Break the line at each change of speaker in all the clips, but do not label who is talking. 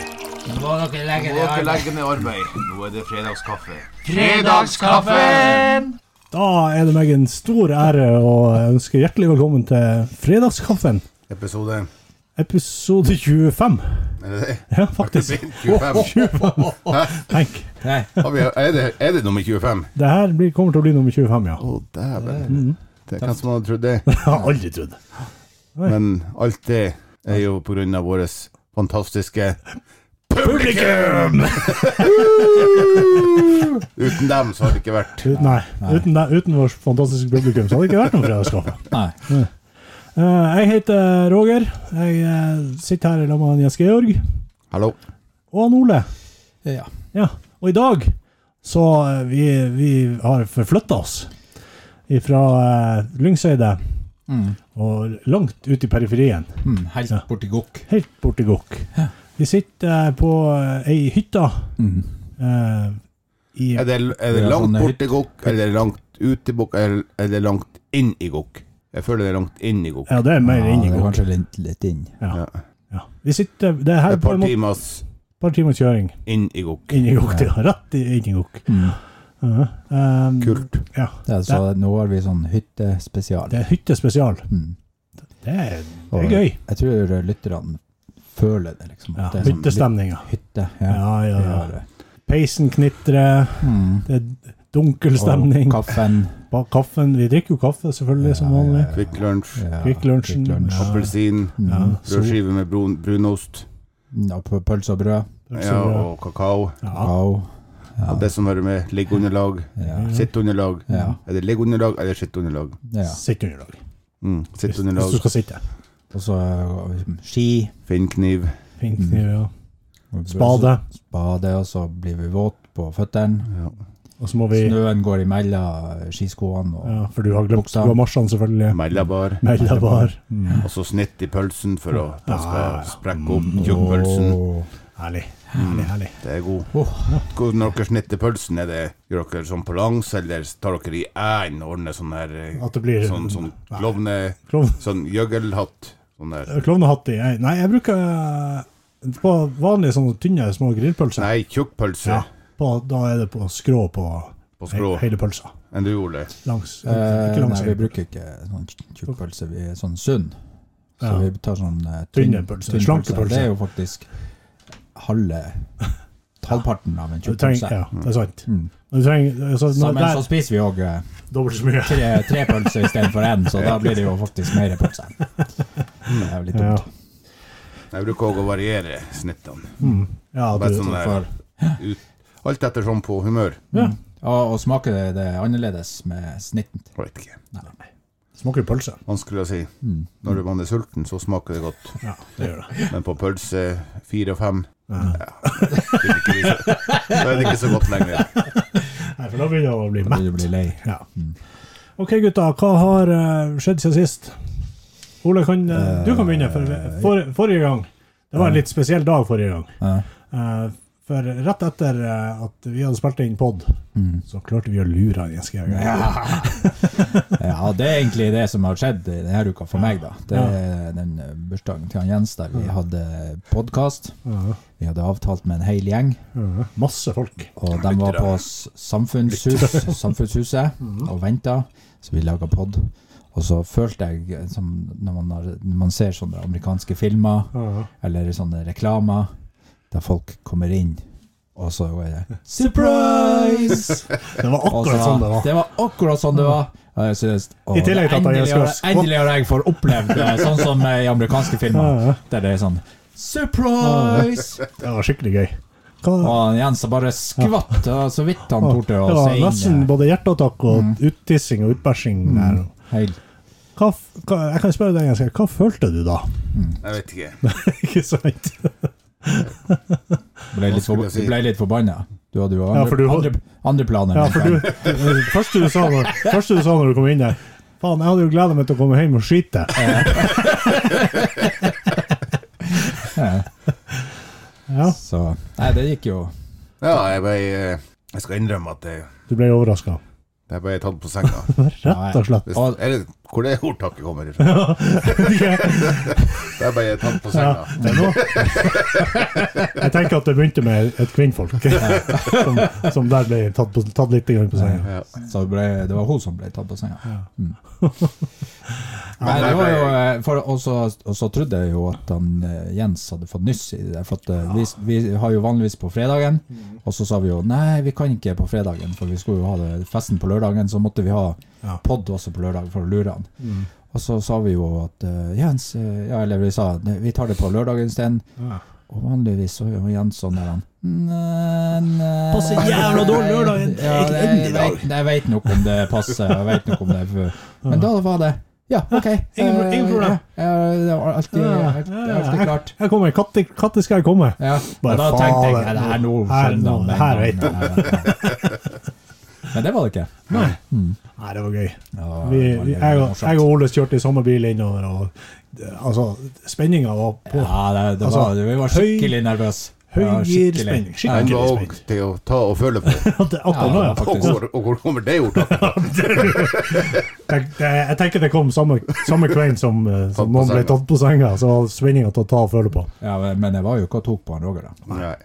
må dere legge
Må dere legge ned arbeid. Nå er det fredagskaffe.
Fredagskaffen!
Da er det meg en stor ære å ønske hjertelig velkommen til Fredagskaffen,
Episode
episode 25.
Er det det?
Ja, faktisk.
25?
25. Tenk.
Nei,
Har vi, er, det, er det nummer 25?
Det her blir, kommer til å bli nummer 25, ja.
Å, dæven. Det er hvem som hadde trodd det.
Jeg har aldri trodd.
Men alt det er jo på grunn av vårt fantastiske publikum! Uten dem så hadde det ikke vært
Ut- Nei. Uten, det- uten vårt fantastiske publikum så hadde det ikke vært noen Fredagskaffe.
nei.
Eh, Jeg heter Roger. Jeg eh, sitter her sammen med Jens Georg
Hallo.
og han Ole.
Ja.
Ja, og i dag så eh, vi, vi har forflytta oss fra eh, Lyngseidet
Mm.
og langt ut i periferien,
Mm, helt
Ja.
borti gokk.
helt borti Gokk. Vi sitter eh, på eh, ei hytte
Mm.
eh, i
Er det, er
Vi
det
har
langt
sånn
bort i Gokk, eller er det langt ut i Gokk, eller er det langt inn i Gokk? Jeg føler det er langt inn i Gokk.
Ja, det er mer
Ja,
inni
det er
Gokk.
kanskje litt, litt inn.
Ja.
Ja.
Ja. Vi sitter Det er
Det
her
er et
på
par
en måte
timers
et par timers kjøring
inn i Gokk.
inn i Gokk. Ja. Rett i- inn i Gokk.
Mm.
Ja. Um,
Kult.
Ja.
Det er, så nå har vi sånn hyttespesial.
Det er hyttespesial.
Mm.
Det er, det
Og
er gøy.
Jeg tror lytterne føler det, liksom. at
Ja,
det er sånn
Hyttestemninga.
litt Hytte, ja.
Ja, ja,
Vi
ja.
har det.
Peisen knitrer,
Mm.
det er dunkel stemning.
Og kaffen.
Ba- Kaffen Vi drikker jo kaffe, selvfølgelig,
Ja,
som
ja,
vanlig.
ja.
Quick lunch,
Ja,
Kvikk Lunsjen.
Kvikk Lunsj.
Ja.
appelsin,
Ja.
Mm.
sol.
rødskive med brun, brunost
Ja, på pølse og brød.
Så
ja,
bra.
og kakao.
Ja.
Au.
Og det som hører med, liggeunderlag,
Ja.
sitteunderlag.
Ja.
Er det liggeunderlag eller sitteunderlag?
ja.
Sitt under lag.
Mm.
Hvis, hvis du
Sitteunderlag,
skal sitte.
Og så eh, ski.
finnkniv.
Fink
Mm.
kniv, ja. Spade.
Spade, og så blir vi våt på føttene.
Ja.
Og så må vi
Snøen går imellom skiskoene. Og,
ja, For du har glemt
Buksa.
du har marsjene, selvfølgelig.
Mellabar.
Mellabar.
Og så snitt i pølsen for å den
Ja.
skal sprekke opp tjukkpølsen.
Åh.
Herlig. Herlig, herlig.
Det er god.
Åh.
God når dere snitter pølsen, er det gjør dere sånn på langs, eller tar dere i æren og ordner sånn her eh,
At det blir-
Sånn, sånn klovne...
Klovn-
Sånn jøggelhatt. Sånn der.
Klovnehatt i jeg- Nei, jeg bruker eh, på vanlige sånne tynne små grillpølser.
Nei, tjukkpølse
Ja, på, da er det på skrå på,
på skrå.
he- hele pølsa.
Enn du, Ole?
Langs,
Eh,
ikke langs
nei, vi bruker ikke sånn tjukkpølse, vi er sånn sunn. Så
Ja.
vi tar sånn eh,
Tynne pølser,
tynn
slanke pølser.
Det er jo faktisk halve halvparten av en
Du trenger,
tjukkpølse.
ja, det er sant.
Mm. sånn
Men Du trenger, altså, når,
Sammen så
der,
spiser vi òg
dobbelt så mye.
tre, tre pølser istedenfor én, så da blir det jo faktisk mer pølse. Det er jo litt
Ja.
dumt.
Jeg bruker òg å variere snittene.
Mm. Ja,
Bare
du,
sånn der, ut, alt etter sånn på humør.
ja.
Og, og smaker det, det annerledes med snitten.
Jeg vet ikke.
Smaker jo pølse.
Vanskelig å si.
Mm.
Når man er sulten, så smaker det godt.
Ja, det gjør det.
Men på pølse fire og fem ja. det er ikke så- Da er det ikke så godt lenger.
Nei, for da begynner jeg å bli
Da
mett.
blir du blir lei.
Ja. Ok, gutta. Hva har eh, skjedd siden sist? Ole, kan, eh, du kan begynne. For, for, forrige gang Det var en litt spesiell dag forrige gang.
Ja.
Eh, for rett etter eh, at vi hadde spilt inn pod,
Mm.
så klarte vi å lure han Jens Georg.
Ja. ja, det er egentlig det som har skjedd i denne uka for meg, da. Det er den eh, bursdagen til han Jens der vi hadde podkast.
Ja.
Vi hadde avtalt med en hel gjeng,
Ja, Masse folk.
og de var på s- samfunnshus, Samfunnshuset og venta, så vi laga pod. Og så følte jeg, eh, som når man, har, når man ser sånne amerikanske filmer
Ja.
eller sånne reklamer, der folk kommer inn, og så er det Surprise!
Det var
Og så-
akkurat sånn det var.
Det var akkurat sånn det var. Og jeg synes, å,
I tillegg til at jeg
endelig
skal
har-
skvatt.
Endelig har jeg fått opplevd det, sånn som i amerikanske
Ja, ja.
filmer, der det er sånn Surprise!
Det var skikkelig gøy. Hva,
Og Jens har bare skvatt og så vidt han
det
torde å
var
se
nesten
inn. eh,
både hjerteattakk og uttissing og utbæsjing der.
Heil.
Hva, f- hva, jeg kan spørre deg en gang, til. hva følte du da?
Jeg vet ikke.
Ikke sant?
Ble litt,
skulle
for,
jeg si?
du ble litt forbanna. Du hadde jo andre,
Ja, for du-
andre, andre planer.
Ja,
men-
for du, det første du sa når, første du, sa når du kom inn der Faen, jeg hadde jo gleda meg til å komme hjem og skyte.
Ja.
Ja,
Så Nei, det gikk jo
Ja, jeg ble eh, Jeg skal innrømme at jeg,
Du ble overraska.
jeg ble tatt på senga.
Rett og slett.
Hvis, eller hvor det ordtaket kommer ifra. Det er bare tatt på senga.
Det er nå. Jeg tenker at det begynte med et kvinnfolk, som, som der ble tatt, på, tatt litt grann på senga.
Ja.
Så det ble, det var hun som ble tatt på senga. Mm.
Ja,
Men det
det
var jo,
ble-
eh, for, og, så, og så trodde jeg jo at han, eh, Jens hadde fått nyss i det. For at, eh, vi, vi har jo vanligvis på fredagen, og så sa vi jo nei, vi kan ikke på fredagen, for vi skulle jo ha det, festen på lørdagen. Så måtte vi ha
Ja.
pod også på lørdag for å lure han. Og så sa vi jo at eh, Jens eh, Ja, eller vi sa "Nei, vi tar det på lørdagen isteden.
Ja.
Og vanligvis så er jo Jens sånn der han «Nei, nei,
Passer jævla dårlig lørdagen.
Ja, det, jeg,
Endelig dag.»
vet, jeg vet nok om det passer. Jeg vet nok om det for, Men da var det Ja, OK.
ingen pro- ingen
Eh,
problem.
Ja, ja, det var alltid,
Ja,
alt-
ja, ja.
alltid klart.
Her kommer katte, katte skal jeg komme.
Ja.
Bare
Og da tenkte jeg
faen,
"Nei, det her nå
her
skjønner
nå,
han med
her
en gang." Men det var det ikke.
Nei. Nei, det var gøy.
Ja, det
Vi,
var
vi,
veldig
jeg, og,
morsomt.
jeg og Ole kjørte i samme bil innover, og eh, altså, spenninga var på.
Ja, det, det
Altså,
var, vi var skikkelig nervøse.
høy girspenning. Skikkelig.
Den var òg til å ta og føle på.
At det- Akkurat nå,
Ja,
ja.
faktisk.
Og hvor, og hvor kommer det ordtaket fra?
Jeg, jeg, jeg tenker det kom samme, samme kvelden som, eh, som
på
noen ble
senga.
tatt på senga, så var spenninga til å ta og føle på.
Ja, men jeg var jo ikke og tok på han Roger, da.
Nei.
Nei, jeg,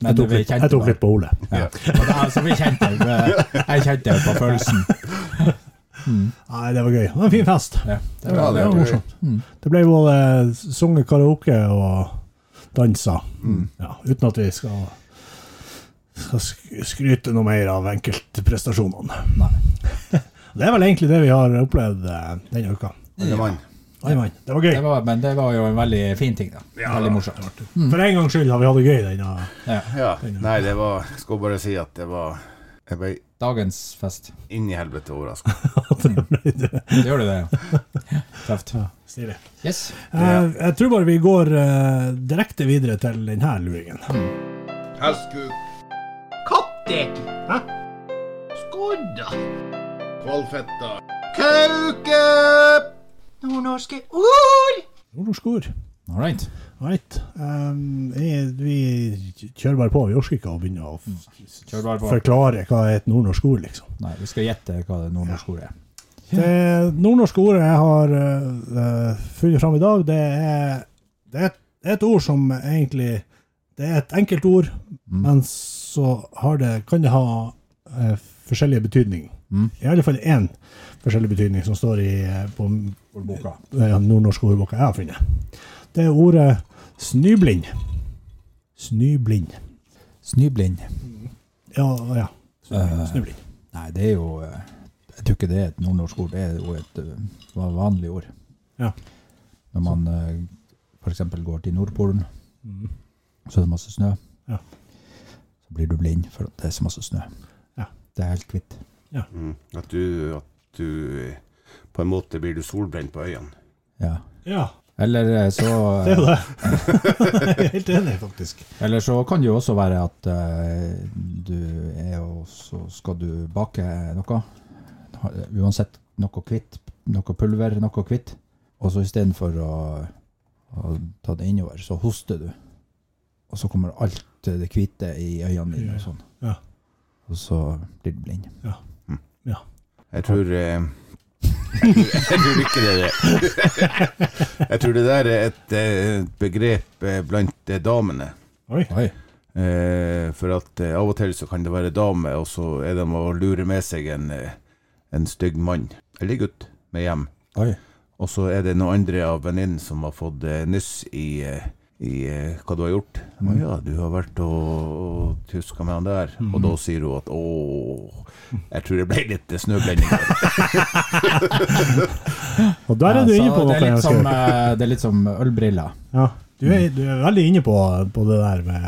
Men
jeg, tok,
vi
litt,
kjente
jeg tok
bare-
litt på Ole.
Ja. Og det, altså, vi kjente det. Jeg kjente det på følelsen.
Nei, det var gøy. Det var en fin fest.
Ja, det
Ja,
var,
det
det
var
var
gøy.
morsomt. Mm.
Det ble både eh, sunget karaoke og dansa.
Mm.
Ja, uten at vi skal, skal sk- skryte noe mer av enkeltprestasjonene.
Nei.
Det er vel egentlig det vi har opplevd eh, denne uka.
Andre mann.
Oi, mann, det var gøy.
Det var, men det var jo en veldig fin ting, da. veldig morsomt.
For en gangs skyld har vi hatt det gøy denne
Ja.
Ja. Nei, det var Skal bare si at det var Jeg ble
Dagens fest.
inn i helvete overraska.
Gjør du det? ja? Tøft.
stilig.
Yes.
Eh, jeg tror bare vi går eh, direkte videre til denne luringen.
Hestkuk. Kattek. Hæ? Skodda. Kvalfetta. Kauke. Nordnorske ord.
Nordnorsk ord.
All right.
Right. Um, jeg- vi kjører bare på. Vi orker ikke å begynne å f-
Kjør bare på.
forklare hva er et nordnorsk ord, liksom.
Nei, vi skal gjette hva det nordnorske ordet er.
Det nordnorske ordet jeg har eh, eh, funnet fram i dag, det er, det, er et, det er et ord som egentlig Det er et enkelt ord,
Mm.
men så har det, kan det ha eh, forskjellige betydninger.
Mm.
I alle fall én forskjellig betydning som står i, eh, på
Ordboka.
eh, nordnorske ordboka jeg har funnet. Det er ordet snyblind. Snyblind.
Snyblind.
Ja, ja.
Eh.
Snublind.
Nei, det er jo eh, Jeg tror ikke det er et nordnorsk ord. Det er jo et eh, vanlig ord.
Ja.
Når man f.eks. går til Nordpolen,
Mm.
så er det masse snø.
Ja.
Så blir du blind for at det er så masse snø.
Ja.
Det er helt hvitt.
Mm. At du, at du På en måte blir du solbrent på øynene.
Ja.
Ja,
Eller eh, så
det er jo det. jeg er helt enig, faktisk.
Eller så kan det jo også være at eh, du er og så skal du bake noe. Ha- Uansett noe kvitt, noe pulver, noe kvitt. Og så istedenfor å, å ta det innover, så hoster du. Og så kommer alt det hvite i øynene dine og sånn.
Ja.
Og så blir du blind.
Ja.
Jeg tror eh, Jeg tror ikke det er det. Jeg tror det der er et eh, begrep eh, blant eh, damene.
Oi.
Oi.
Eh, for at eh, av og til så kan det være dame, og så er de og lurer med seg en, eh, en stygg mann eller gutt med hjem.
Oi.
Og så er det noen andre av venninnen som har fått eh, nyss i, eh, i eh, hva du har gjort. Å ja, du har vært og, og tuska med han der. Og da sier hun at å, jeg tror det ble litt snøblending. der.»
Og der er du
Ja, så
inne på noe.
det er,
jeg
litt som,
husker.
eh, det er litt som ølbriller.
ja, du, er, du er veldig inne på, på det der med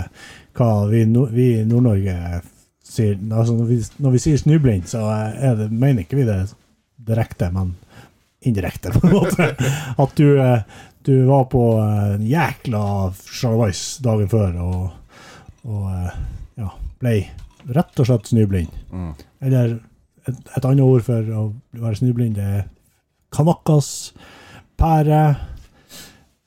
hva vi, i Nord- vi i Nord-Norge sier. Altså, når, vi, når vi sier snublind, så er det, mener ikke vi det direkte, men indirekte, på en måte. At du, eh, du var på eh, en jækla sjalabais dagen før og, og eh, ja, ble rett og slett snublind.
Mm.
Eller et, et annet ord for å være snublind, det er kanakkas, pære.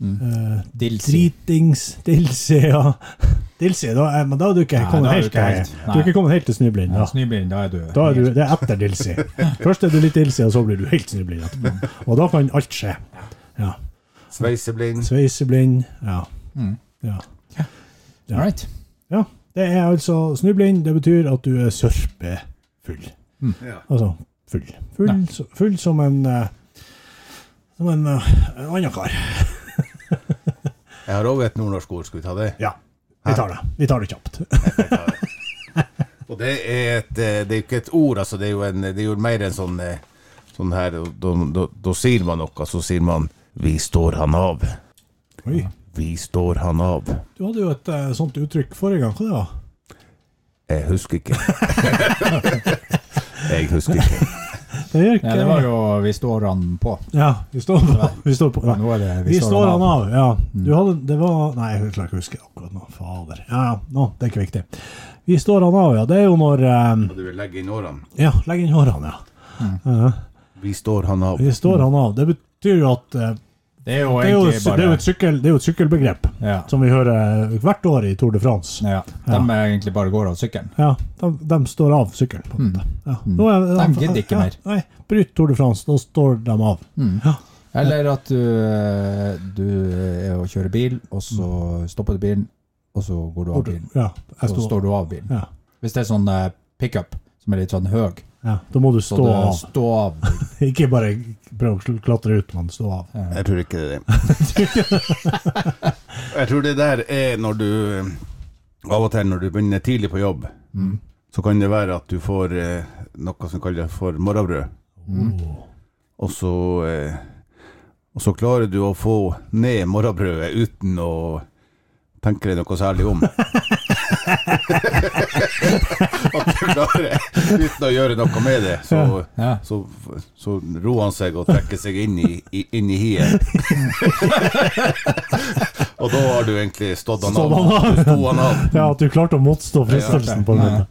eh,
Dilsi.
Dritings, dilse, ja. Dilsi, da, er- men da er du ikke
Nei,
kommet
da er du
helt,
ikke helt.
til- du er ikke kommet helt til snøblind. Da.
Snøblind, da er du
Da er du, det er etter Dilsi. Først er du litt Dilsi, og så blir du helt snøblind etterpå. Og da kan alt skje. Ja.
Sveiseblind.
Sveiseblind. Ja.
Mm.
ja. ja.
All right.
ja. Det er altså snøblind. Det betyr at du er sørpefull.
Ja.
Altså full. Full, så- full som en eh, Som en, eh, en annen kar.
Jeg har òg et nordnorsk ord, skal vi ta det?
Ja. Vi tar det. Vi tar det kjapt.
Og det er et eh, Det er jo ikke et ord, altså. Det er jo, en, det er jo mer en sånn eh, Sånn her da- Da da sier man noe, så sier man 'Vi står han av'.
Oi.
Vi står han av.
Du hadde jo et eh, sånt uttrykk forrige gang. Hva det var
Jeg husker ikke. jeg husker ikke.
det? Gjør ikke,
Ja, det var jo Vi står han på.
Ja, vi står på. Vi står på.
Nå er det
Vi står han av, ja.
Mm.
Du hadde, det var Nei, jeg klarer ikke å huske akkurat nå. Fader. Ja, ja, nå, det er ikke viktig. Vi står han av, ja. Det er jo når eh,
Du vil legge inn årene.
Ja, legg inn hårene, ja.
Mm.
Ja,
Vi står han av.
Vi står han av. Det betyr jo at eh,
Det er jo
det er jo,
egentlig
det er
bare
jo, et, sykkel, det er jo et sykkelbegrep
ja.
som vi hører eh, hvert år i Tour de France.
ja. De er egentlig bare går av sykkelen.
Ja, de, de står av sykkelen, på en
Mm.
måte. Ja. Nå er,
De gidder ikke
ja,
mer.
Nei, bryt Tour de France, da står de av. Ja.
Mm. Eller at du, eh, du er og kjører bil, og så stopper du bilen, og så går du av bilen.
Ja, jeg
Og så
står,
står du av bilen.
ja,
Hvis det er sånn eh, pickup som er litt sånn høy,
ja. Da må du
så
stå
det-
av.
stå av.
Ikke bare prøve å klatre ut, men stå av.
Jeg tror ikke det er det. jeg tror det der er når du eh, Av og til når du begynner tidlig på jobb, så kan det være at du får eh, noe som kalles for morgenbrød.
Åh.
Og så, eh, og så klarer du å få ned morgenbrødet uten å tenke deg noe særlig om. At du klarer, uten å gjøre noe med det, så,
Ja.
så, så roer han seg og trekker seg inn i, i, inn i hiet. og da har du egentlig stått han av.
Stått han av.
Du sto han av.
Ja, at du klarte å motstå fristelsen på en måte.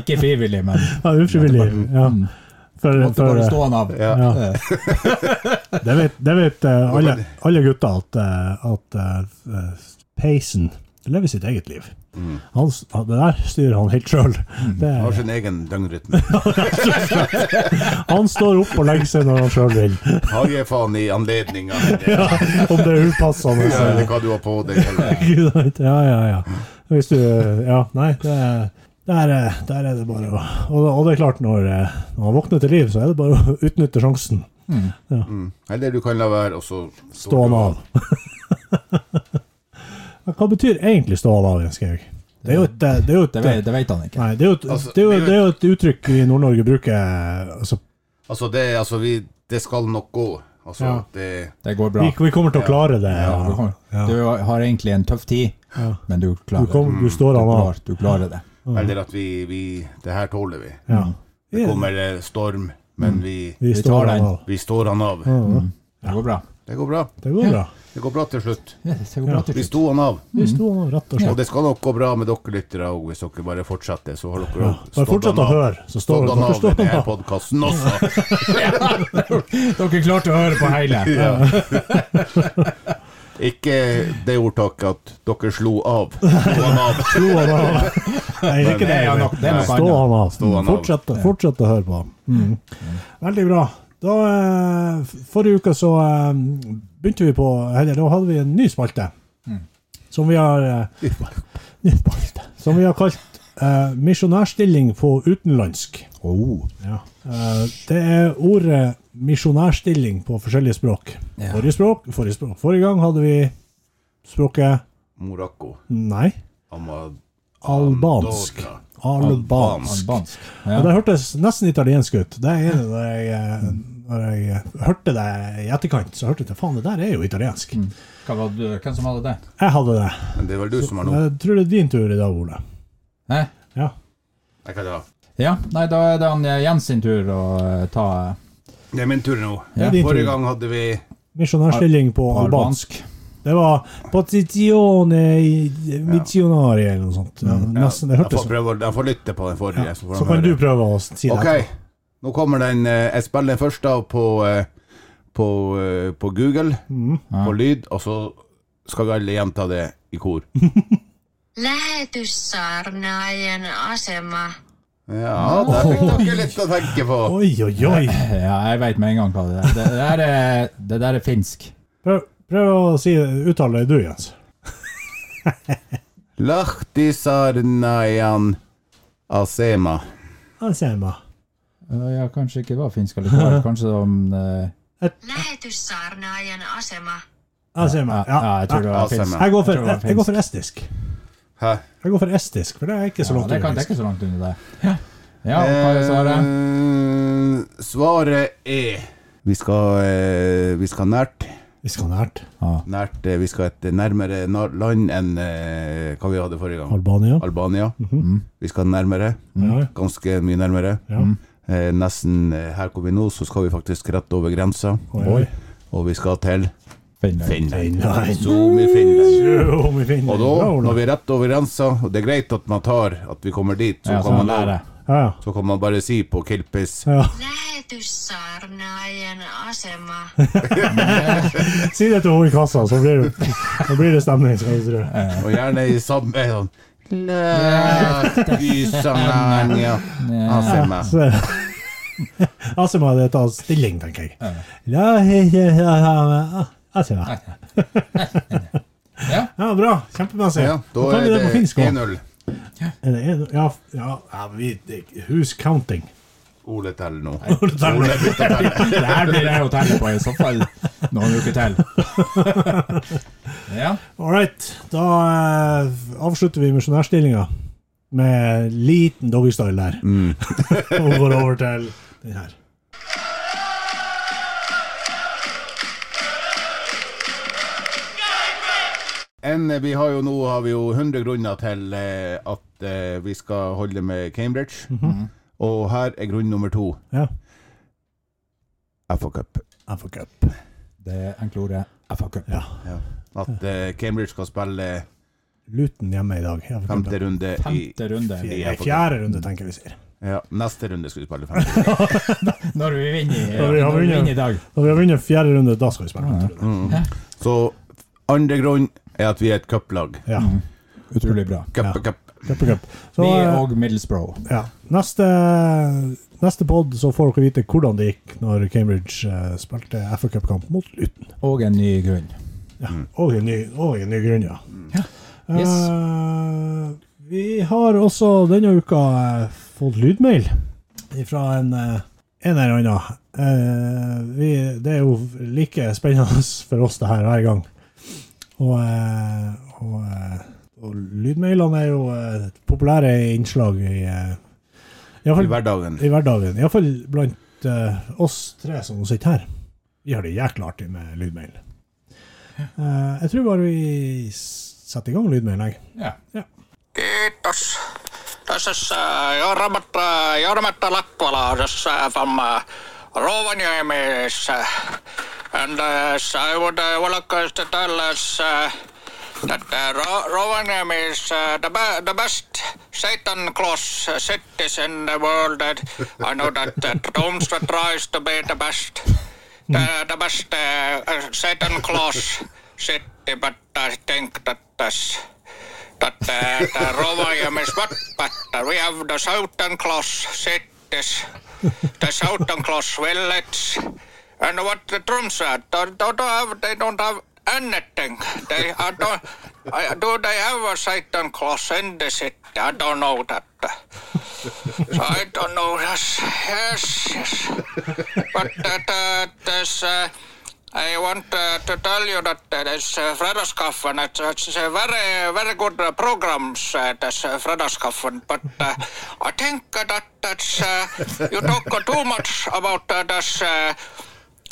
Ikke frivillig, men
Ja, ufrivillig. Ja. For,
måtte
for,
bare stå han av.
Ja.
ja.
Eh,
Det vet, det vet eh, alle, alle gutter at, eh, at eh, peisen lever sitt eget liv. Han, s- han- det der styrer han helt sjøl.
Han har sin egen døgnrytme.
Han står opp og legger seg når han sjøl vil.
Har jeg faen i anledninga eller
Om det er upassende.
eller
Så.
hva du har på deg? Eller.
Gud, Ja, ja, ja. Hvis du Ja, nei, det er der, eh, der er det bare å og, og det er klart, når, eh, når han våkner til liv, så er det bare å utnytte sjansen.
Mm. Eller du kan la være, og så
Stå han av. Men Hva betyr egentlig stå han av, Jens Georg? Det er jo et, eh, det er jo et,
Det vet, det vet han ikke.
nei, det er jo et,
Altså,
det er jo,
det er jo-
det er jo et uttrykk vi i Nord-Norge bruker altså,
Altså, det, altså vi, det skal nok gå. Altså,
Ja.
det,
Det går bra.
vi, vi kommer til å klare det.
Ja, du,
Ja.
har, du har egentlig en tøff tid,
Ja.
men du
Du,
klarer det.
kom, du står
Du
han av.
klarer, du klarer det.
Eller at vi, vi Det her tåler vi.
Mm. Ja. Mm.
Det kommer eh, storm, men vi,
Vi
Vi tar
står han
den.
av.
vi står han av.
Ja,
Det går bra.
Det går bra.
Det går bra. Mm.
Det går bra til slutt.
Ja, Det går bra til
Vi
slutt.
sto han av.
Vi sto han av, rett og
Og
slett.
det skal nok gå bra med dere lyttere òg, hvis dere bare fortsetter. Så har dere
Ja.
også
Bare fortsett å høre, så står
Stått han
dere
av i
står han
denne
av.
podkasten også.
Dere klarte å høre på hele.
Ja. Ikke det ordtaket at dere slo av. Slo han av.
Sto han av. Nei, ikke
Det
det.
er
men-
nok, det er nok
Stå
annet.
han av.
Stå han av.
Fortsett, fortsett å høre på ham. Mm. Veldig bra. Da, eh, f- forrige uke så eh, begynte vi på eller, Da hadde vi en ny spalte. Som vi har eh, Ny spalte. Som vi har kalt eh, 'Misjonærstilling på utenlandsk'.
Oh.
Eh, det er ordet 'misjonærstilling' på forskjellige språk.
Ja.
Forrige språk, forrige språk. Forrige gang hadde vi språket
Morocco.
Nei.
Amad-
Albansk.
Andorra.
Albansk.
Albansk.
Ja.
Ja.
Det hørtes nesten italiensk ut. Det er det når jeg, eh, når jeg eh, hørte det i etterkant, så hørte jeg at faen, det der er jo italiensk.
Mm. Hva var du, hvem som hadde det?
Jeg hadde det.
Men det er vel du som har nå.
Jeg tror det er din tur i dag, Ole.
Hæ?
Ja.
Jeg kan ta.
Ja, nei, da er det han eh, Jens sin tur å eh, ta eh,
Det er min tur nå.
Ja.
Din tur.
Forrige gang hadde vi
Misjonærstilling på albansk.
albansk.
Det var Pozitione i- missionari eller noe sånt. Ja, nesten, det
Jeg får
hørtes sånn.
prøve å- jeg får lytte på den forrige. Så, får
Så
de
kan
høre.
du prøve å si det.
Ok, nå kommer den eh, Jeg spiller den først av på, eh, på, eh,
Mm.
på Google, på lyd, og så skal vi alle gjenta det i kor.
Lähetyssaarnaajan asema.
Ja, der fikk dere litt å tenke på.
Oi, oi, oi.
Ja, jeg veit med en gang hva det er. Det, det, der, er, det der er finsk.
Prøv, prøv å si, uttale det du, Jens.
Lahtisarnajan asema.
Asema.
Eh, Ja, kanskje ikke var finsk allikevel. Kanskje de eh,
Lähetyssaarnaajan asema.
Asema.
ja, ja,
Ja.
jeg tror det var
Asema.
finsk. Jeg
Jeg går
tror
for,
det var
jeg går for estisk.
Hæ?
Jeg går for estisk, for det er ikke
Ja,
så langt
det kan
unna.
dekke så langt under det. Ja, hva er svaret?
Eh, svaret er Vi skal, eh, vi skal nært.
Vi skal nært.
nært eh, vi skal et nærmere na- land enn eh, hva vi hadde forrige gang.
Albania.
Albania.
Mhm.
Mm.
Vi skal nærmere.
Ja.
Ganske mye nærmere.
Ja.
Eh, nesten eh, her hvor vi nå, så skal vi faktisk rett over grensa.
Oi, oi.
Og vi skal til
Finland.
Finland.
Finland.
Zoom i Finland.
Jo, vi finner
Og da,
Bra, Ola.
når vi er rett over grensa, og det er greit at man tar at vi kommer dit, så,
Ja,
kan,
sånn
man,
der,
da-
ja.
Ja, ja.
så kan man bare si på Kilpis
ja.
Lähetyssaarnaajan asema.
Si det til henne i kassa, så blir det, så blir det stemning. Skal du tro.
Og gjerne i samme sånn Lysanganja Asema.
Så, altså må det ta stilling, tenker jeg. Ja, he, he, he, he, altså, ja.
Ja.
ja, bra. Kjempemessig.
Ja, da
tar
er
vi det på
det
finsk også.
1-0.
Er det en- Ja, f- ja, ja vi, det- who's counting?
Ole teller nå.
Ole teller.
Ole begynte å telle.
Det her blir jeg å telle på i så fall noen uker til. Ja.
All right, da eh, avslutter vi misjonærstillinga med liten doggystyle der.
Mm.
Og går over til den her.
En, eh, vi har jo nå har vi jo 100 grunner til eh, at eh, vi skal holde med Cambridge.
Mhm.
Mhm.
Mm.
Og her er grunn nummer to.
Ja.
FA Cup.
FA Cup.
Det er enkle ordet FA Cup.
Ja.
At eh, Cambridge skal spille
Luton hjemme i dag. FA Cup.
femte runde i
Femte runde.
i
Fjerde,
FA Cup.
fjerde runde, tenker vi sier.
Ja, neste runde skal vi spille femte. runde.
Når vi vinner,
Når vi har
når vi
vunnet.
vinner i dag.
Når vi har vunnet fjerde runde, da skal vi spille.
Mm.
femte runde.
Så andre grunn er at vi er et cuplag.
Ja.
Utrolig bra.
Cup,
Ja.
cup.
Cup og cup. Så,
Vi
eh,
og Middlesbrough.
ja. Neste, neste pod så får dere vite hvordan det gikk når Cambridge eh, spilte FA Cup-kamp mot Luton.
Og en ny grunn.
Ja. Og en ny, og en ny grunn, ja.
Yes.
Eh, vi har også denne uka eh, fått lydmail fra en, eh, en eller annen. Eh, vi, det er jo like spennende for oss det her hver gang. Og, eh, og, eh, og lydmailene er jo eh, populære innslag i, eh, i, hvert
I
fall,
hverdagen.
i hverdagen. Iallfall blant eh, oss tre som sitter her. Vi har det jækla artig med lydmail. Eh, jeg tror bare vi s- setter i gang lydmail, jeg.
Ja.
Kiitos. Tässä äh, Jormatta, Jormatta Lappalaisessa from uh, Rovaniemi. uh, And uh, so I would uh, like to tell us uh, that uh, Ro- Rovaniemi is uh, the, be- the best Satan Claus uh, cities in the world. And I know that uh, Domstra tries to be the best, the, the best uh, uh, Satan Claus city, but I think that that's that uh, the Rovaniemi is what, but uh, we have the Southern Cross cities, the Southern Cross village, and what the drums are. They don't have, they don't have anything. They I don't. I, do they have a Southern Cross in the city? I don't know that. So I don't know. Yes, yes, yes. But that uh, there's. Uh, I want uh, to tell you that uh, this uh, Fredagskaffen, it's, it's a very, very good uh, programs, uh, this uh, Fredagskaffen, but uh, I think uh, that that's, uh, you talk uh, too much about uh, this, uh,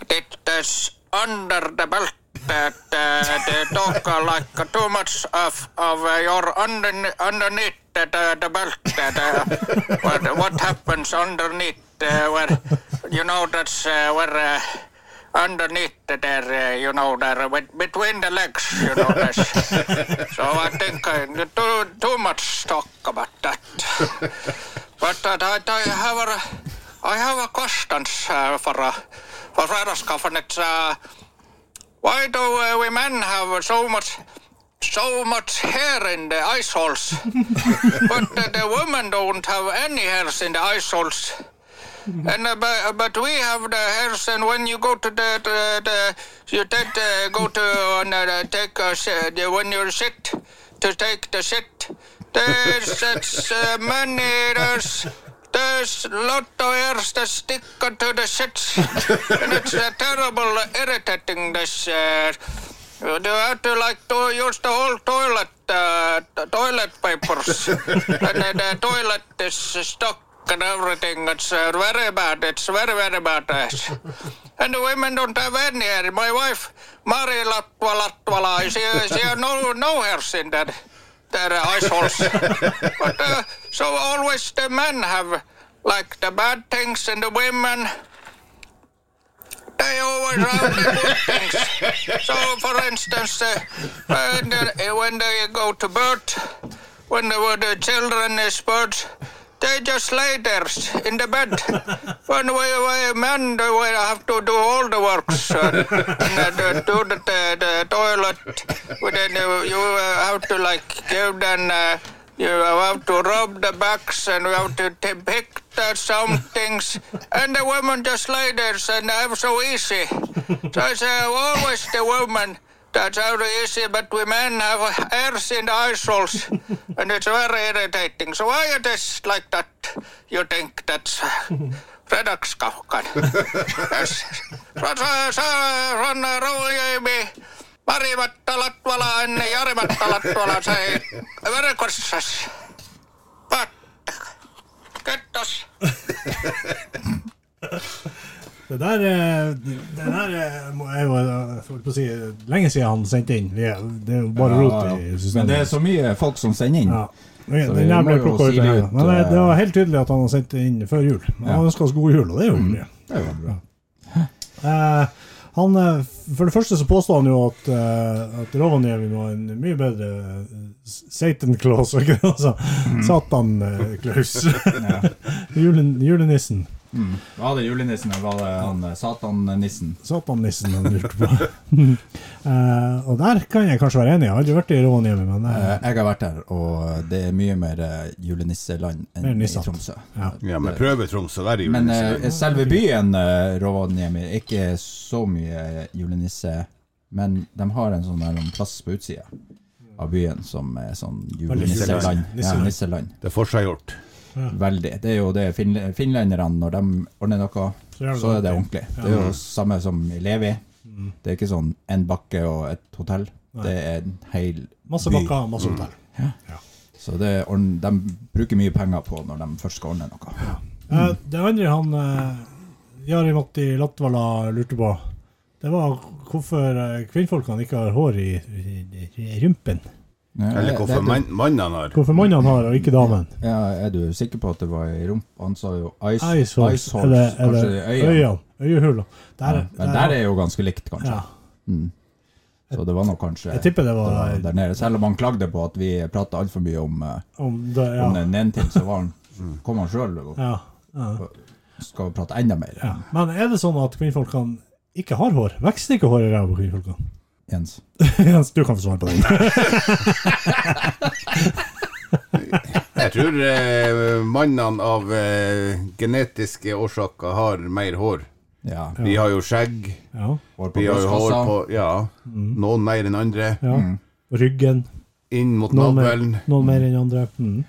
that this under the belt, that uh, they talk uh, like uh, too much of, of uh, your under, underneath the, the, the belt, that, uh, what, what happens underneath, uh, where, you know, that's uh, where... Uh, underneath the- there, uh, you know, there, uh, bet- between the legs, you know. This. so I think uh, too, too much talk about that. but uh, I, I have a, I have a question uh, for uh, for Radoskov, and it's uh, why do uh, we men have so much so much hair in the ice holes. but uh, the women don't have any hairs in the ice holes. And uh, but, but we have the hairs, and when you go to the, the, the you take uh, go to on uh, take uh, sh- the- when you're shit to take the shit. There's it's, uh, many there's there's lot of hairs that stick to the shit, and it's uh, terrible irritating this. Uh, you do have to like to use the whole toilet uh, t- toilet papers, and then the toilet is stuck and everything. It's uh, very bad. It's very very bad. yes. and the women don't have any hair. My wife, Mari Latvala, Latvala she she has no no hairs in that that uh, ice holes. but uh, so always the men have like the bad things, and the women. They always have the good things. So, for instance, uh, when, they, when they go to bed, when the, when the children is bird, they just lay there in the bed. When we, we men, do we have to do all the works. Uh, and, uh, do the, the, the toilet. We Then you, you uh, have to like give them. Uh, you have to rub the backs and you have to t- pick the some things. And the women just lay there and have so easy. So it's uh, always the women that's how the easy, but we men have hairs in the eye holes. and it's very irritating. So why it is like that? You think that's Redax Kaukan. yes. So, so, so, on Roujimi, Marimatta Latvala and Jarimatta Latvala say, very courses. But, kiitos.
Det der, eh, det der eh, må jeg jo eh, holdt på å si lenge siden han sendte inn. Vi er- Det er jo bare
Ja,
rot i
ja. Men det er
systemet.
så mye folk som sender inn.
Ja. Ok,
Så vi
Den der ble
må jo
plukka ut.
si det
ja.
ut,
Men det,
eh,
det var helt tydelig at han har sendt det inn før jul. Men Han
Ja. Mm.
ønska oss god jul, og det er jo hyggelig.
Det er jo bra.
Eh, han, eh, for det første så påstår han jo at, eh, at Rovaniemi var en mye bedre eh, Satan Claus, ikke sant? altså, Satan-Klaus. Julen, julenissen.
Var det julenissen, eller var det han eh, satannissen?
Satan-nissen han lurte på. Eh, og der kan jeg kanskje være enig. Jeg har aldri vært i Rovaniemi, men
Eh,
eh,
Jeg har vært der, og det er mye mer eh, julenisseland
Mer
enn i
nissete.
Tromsø.
ja.
Ja, men prøve Tromsø hver jul.
Men
liksom.
eh, selve byen eh, Rovaniemi er ikke så mye eh, julenisse, men de har en sånn der, en plass på utsida av byen som er sånn julenisseland.
Nisseland.
Ja, nisseland.
Det er forseggjort.
Veldig. Det er jo det fin finlenderne, når de ordner noe,
Så er det Mm.
så er det ordentlig. Det er jo samme som i Levi. Det er ikke sånn en bakke og et hotell. Det er en hel
Masse
by.
bakker, masse hotell.
Så det er ordn- de bruker mye penger på når de først skal ordne noe.
Eh, det andre han uh, Jari Matti Latvala lurte på, det var hvorfor eh, kvinnfolkene ikke har hår i, i, i rumpen.
Ja,
Eller
eh, det-
hvorfor
det-
mann- mannene har
Hvorfor mannen har og ikke damen.
Ja, er du sikker på at det var i rump? Han sa jo ice, ice
Eyeshorts,
horse,
eller,
kanskje
eller
i øynene.
øynene. Øyehuler. Der,
Ja, Men der er jo ganske likt, kanskje.
ja.
Så det var nok kanskje
Jeg tipper det
det
var
var der nede. Selv om han klagde på at vi prata altfor mye om, eh,
om det, ja. Mm.
om den ene ting, så var han, kom han sjøl og
ja. ja.
skal prate enda mer.
ja. Men er det sånn at kvinnfolkene ikke har hår? Vokser ikke hår i ræva på kvinnfolkene?
Jens.
Jens, du kan få svare på den.
Jeg tror eh, mannene av eh, genetiske årsaker har mer hår.
Ja.
Vi har jo skjegg,
Ja.
Hår på
vi har jo hår
brystkassa.
på Ja,
Mm.
noen mer enn andre.
ja. Ryggen.
Inn mot
Noen mer,
navlen, eh,
noen mer enn andre. Mm.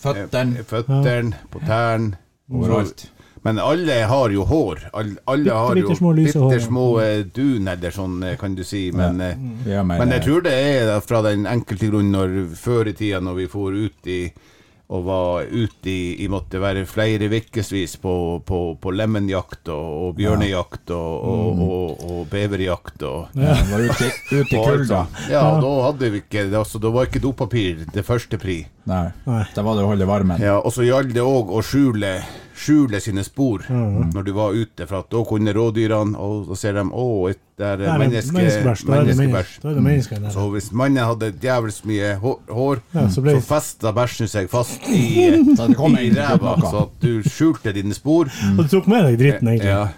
Føttene.
føttene, på tærne.
Mm.
Overalt.
Men alle har jo hår. Alle, alle har jo
bittersmå lyse hår, Mm. ja.
bittersmå, eh, dun, eller sånn, eh, kan du si. Men, eh,
Vi har mer,
men jeg tror det er da fra den enkelte grunn når før i tida når vi for ut i og var ute i, i måtte være flere ukevis på, på, på lemenjakt og, og bjørnejakt og, og, og, og beverjakt og
ja, Var ute, ute i
og alt
kulda.
sånt. Ja, da hadde vi ikke altså, Da var ikke dopapir det første pri.
Nei.
Nei.
Da var det å holde varmen.
Ja, og så gjaldt det òg å skjule, skjule sine spor når du var ute, for at da kunne rådyrene Og da ser de 'Å, et Der
Der
er
er
menneske,
menneskebæsj, da er det
menneskebæsj.
menneske- da er det menneske der.
Så hvis mannen hadde djevelsk mye hår, hår
Ja,
så,
så ble-
festa bæsjen seg fast i,
Så det kom
i
en-
ræva, så at du skjulte dine spor.
Og du tok med deg dritten, egentlig.
Ja,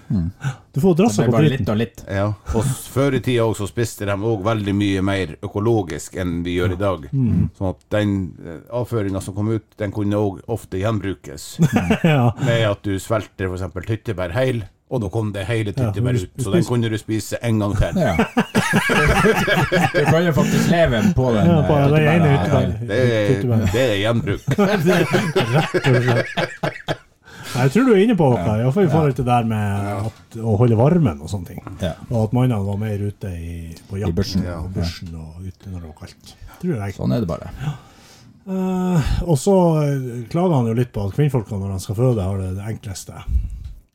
Du får
Det
drassa
er
på
bare litt
dritten.
og litt.
ja. Og s- før i tida også så spiste de òg veldig mye mer økologisk enn vi gjør i dag.
Mm.
Sånn at den avføringa som kom ut, den kunne òg ofte gjenbrukes.
Ja.
Med at du svelter f.eks. tyttebær heil, og nå kom det hele tyttebær
du
ut. Så den kunne du spise en gang til.
Ja. Du kan jo faktisk leve på den.
Ja, på
eh,
den ene
tyttebæra.
utgangen.
Det er, det er gjenbruk.
Nei, Jeg tror du er inne på noe, iallfall i forhold til det der med at, å holde varmen og sånne ting.
Ja.
Og at mannene var mer ute i, på
I
jakten
børsen.
og børsen og ute når det var kaldt. Tror jeg.
Sånn er det bare.
Eh, og så eh, klager han jo litt på at kvinnfolka når de skal føde, har det det enkleste.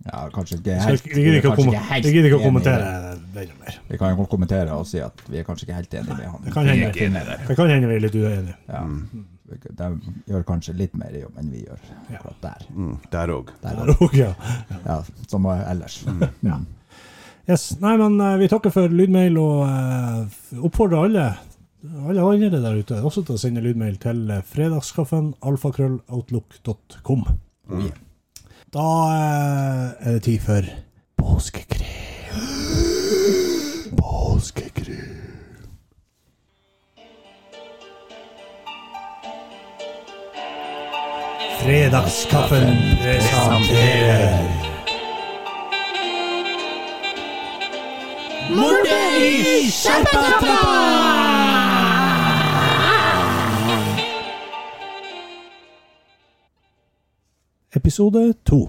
Ja, kanskje ikke
Så jeg
helt,
jeg gidder ikke, å
kanskje
kom-
helt
jeg gidder ikke å
enige.
kommentere det noe mer.
Vi kan jo kommentere og si at vi er kanskje ikke helt enige med han.
Det kan hende,
Ikke enige der.
det kan hende vi er litt uenige.
Ja. De gjør kanskje litt mer jobb enn vi gjør
Ja.
akkurat der.
Mm, Der òg.
der
Der også, ja.
Ja, som ellers.
Ja. Yes. Nei, men eh, vi takker for lydmail og eh, oppfordrer alle alle andre der ute også til å sende lydmail til eh, fredagskaffen alfakrølloutlook.com.
Mm.
Da eh, er det tid for påskekrim. Påskekrim. Fredagskaffen presenterer Episode 2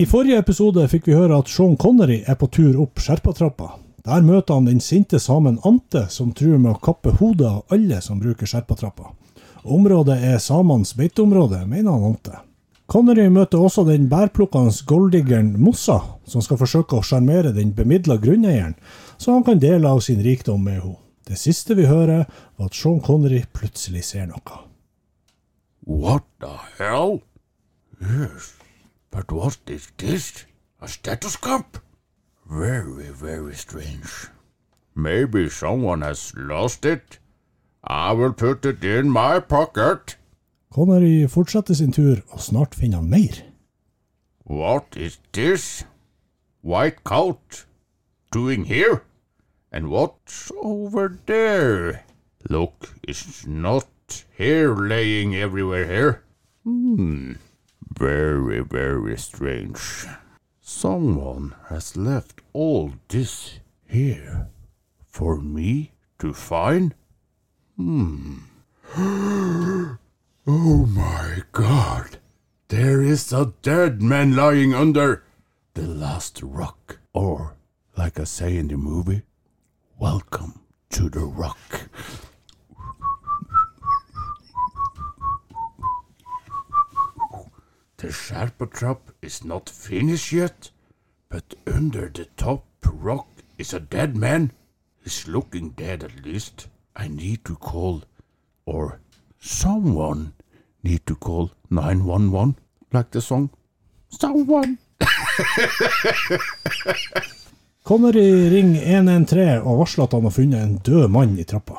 I forrige episode fikk vi høre at Sean Connery er på tur opp Skjerpatrappa. Der møter han den sinte samen Ante, som truer med å kappe hodet av alle som bruker Skjerpatrappa. Området er samenes beiteområde, mener han Ante. Connery møter også den bærplukkende golddiggeren Mossa, som skal forsøke å sjarmere den bemidla grunneieren, så han kan dele av sin rikdom med henne. Det siste vi hører, var at Sean Connery plutselig ser noe.
What the hell? Yes, but what is this? A stethoscope? Very, very strange. Maybe someone has lost it. I will put it in my pocket.
Connery fortsetter sin tur, og snart finner han mer.
What is this? White coat? Doing here? And what's over there? Look, it's not here laying everywhere here. Hmm. Very, very strange. Someone has left all this here for me to find? Hmm. oh my god. There is a dead man lying under the last rock. Or, like I say in the movie, welcome to the rock. The sharper trap is not finished yet, but under the top rock is a dead man. He's looking dead at least. I need to call or someone need to call 911 like the song someone
Connery ringer 113 og varsler at han har funnet en død mann i trappa.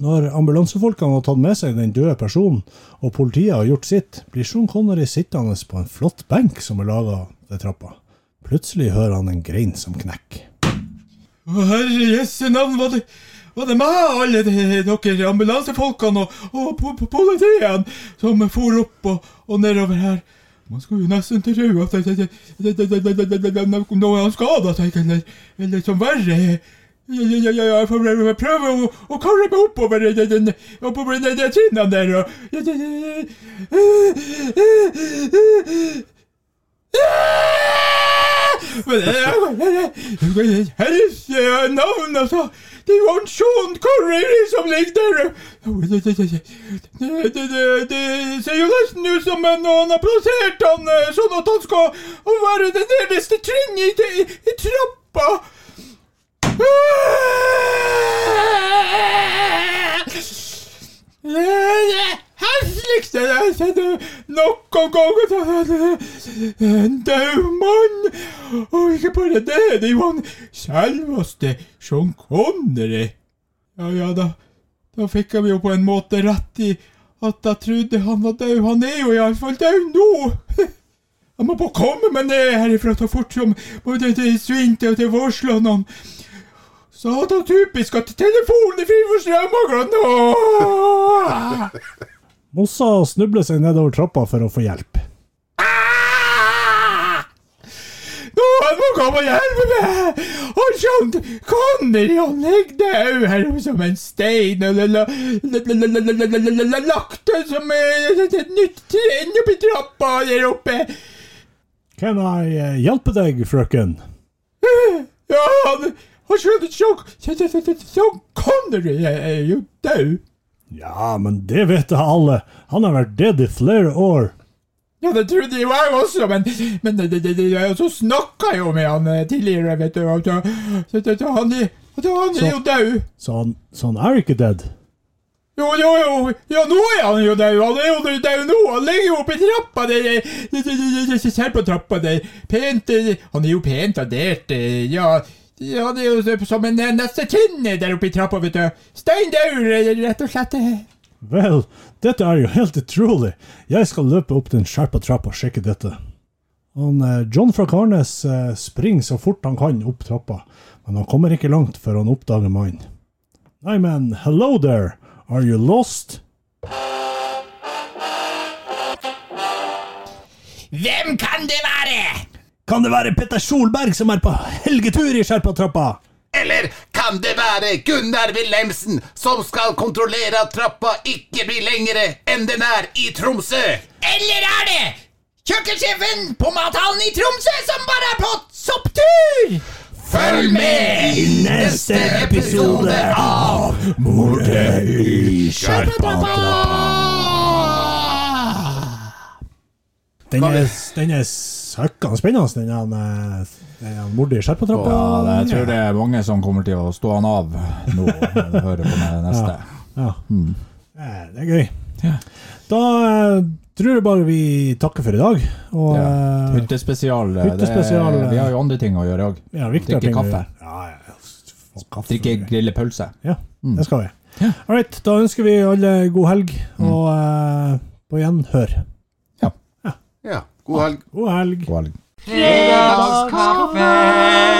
Når ambulansefolkene har tatt med seg den døde personen, og politiet har gjort sitt, blir Sean Connery sittende på en flott benk som er laga ved trappa. Plutselig hører han en grein som knekker.
Å, Herre Jesu navn, var det, var det meg, alle de- dere ambulansefolkene og, og po po politiet som for opp og, og nedover her? Man skulle jo nesten tro at det- det- det- det- det- det- det- det- det- det- noen har skada seg, eller, eller som verre er. Ja, ja, ja, ja, jeg får prøve- prøve å, å karre meg oppover den- den- oppover den- den trinnene der og ja, ja, ja, ja. Men det er- Helse og navn, altså! Det er jo han Sean Connery som ligger der! Det, det, det, det, det- det ser jo nesten ut som en- noen har plassert han eh, sånn at han skal være det nederste trinnet i, i, i trappa! Det er det hesligste jeg har sett noe kom, kom! En død mann! Og ikke bare det, det var han selveste Sean Connery. Ja, ja, da, da fikk jeg jo på en måte rett i at jeg trodde han var død. Han er jo iallfall død nå! Jeg må bare komme meg ned herifra så fort som både til Svinte og til Vårslandene. Så da typisk at telefonen friver strømmaglene!
Mossa snubler seg nedover trappa for å få hjelp.
Noen må komme og hjelpe meg! Og sånn Connery han ligger død her som en stein og la- la- la- la- la- la- la- la- la- lagt ut som eh, et nytt trinn oppi trappa der oppe.
Can I eh, hjelpe deg, frøken?
Ja, han har skjønt sjokk. Sånn Connery er er eh, jo død.
Ja, men det vet jeg alle. Han har vært død i flere år.
Ja, det trodde jeg var også, men, men det, det, det, det, og så snakka jeg jo med han eh, tidligere, vet du. Og, så, så, så, så han, er- så han er
Så-
jo død.
Så han, så han er ikke død.
Jo, jo, jo. Ja, nå er han jo død. Han er jo død nå. Han ligger jo oppi trappa der. eh, det- det- det- det- det- Ser på trappa der. Pent eh, Han er jo pent radert. eh, Ja, ja, han er jo så- som en eh, nessekinn der oppe i trappa, vet du. Steindaur, eh, rett og slett. eh.
Vel, dette er jo helt utrolig. Jeg skal løpe opp den skjerpa trappa og sjekke dette. Han, eh, John fra Karnes eh, springer så fort han kan opp trappa, men han kommer ikke langt før han oppdager mannen. Nei, men hello there, are you lost?
Hvem kan det være?
Kan det være Petter Solberg som er på helgetur i skjerpa trappa?
Eller kan det være Gunnar Wilhelmsen som skal kontrollere at trappa ikke blir lengre enn den er i Tromsø?
Eller er det kjøkkensjefen på mathallen i Tromsø som bare er på sopptur?
Følg med i neste episode av Mordet i
Den er, den er søkkende spennende, den, han, eh, den han mordet i skjerpa trappa.
Ja, det, jeg tror det er mange som kommer til å stå han av nå når de hører på den neste. Mm.
Ja. Eh, Det er gøy.
Ja.
Da eh, tror jeg bare vi takker for i dag. Og
Ja.
eh,
Hyttespesial. eh, det
Hyttespesial,
er-
eh.
Vi har jo andre ting å gjøre òg.
ja, viktige
drikke
ting å
kaffe.
gjøre. Ja, ja, ja. Få kaffe.
Drikke grillepølse.
Ja, det skal vi. All right, da ønsker vi alle god helg,
Mm.
og eh, på gjenhør.
Ja.
Ja, god helg.
God helg.
God helg.
Fredagskaffe!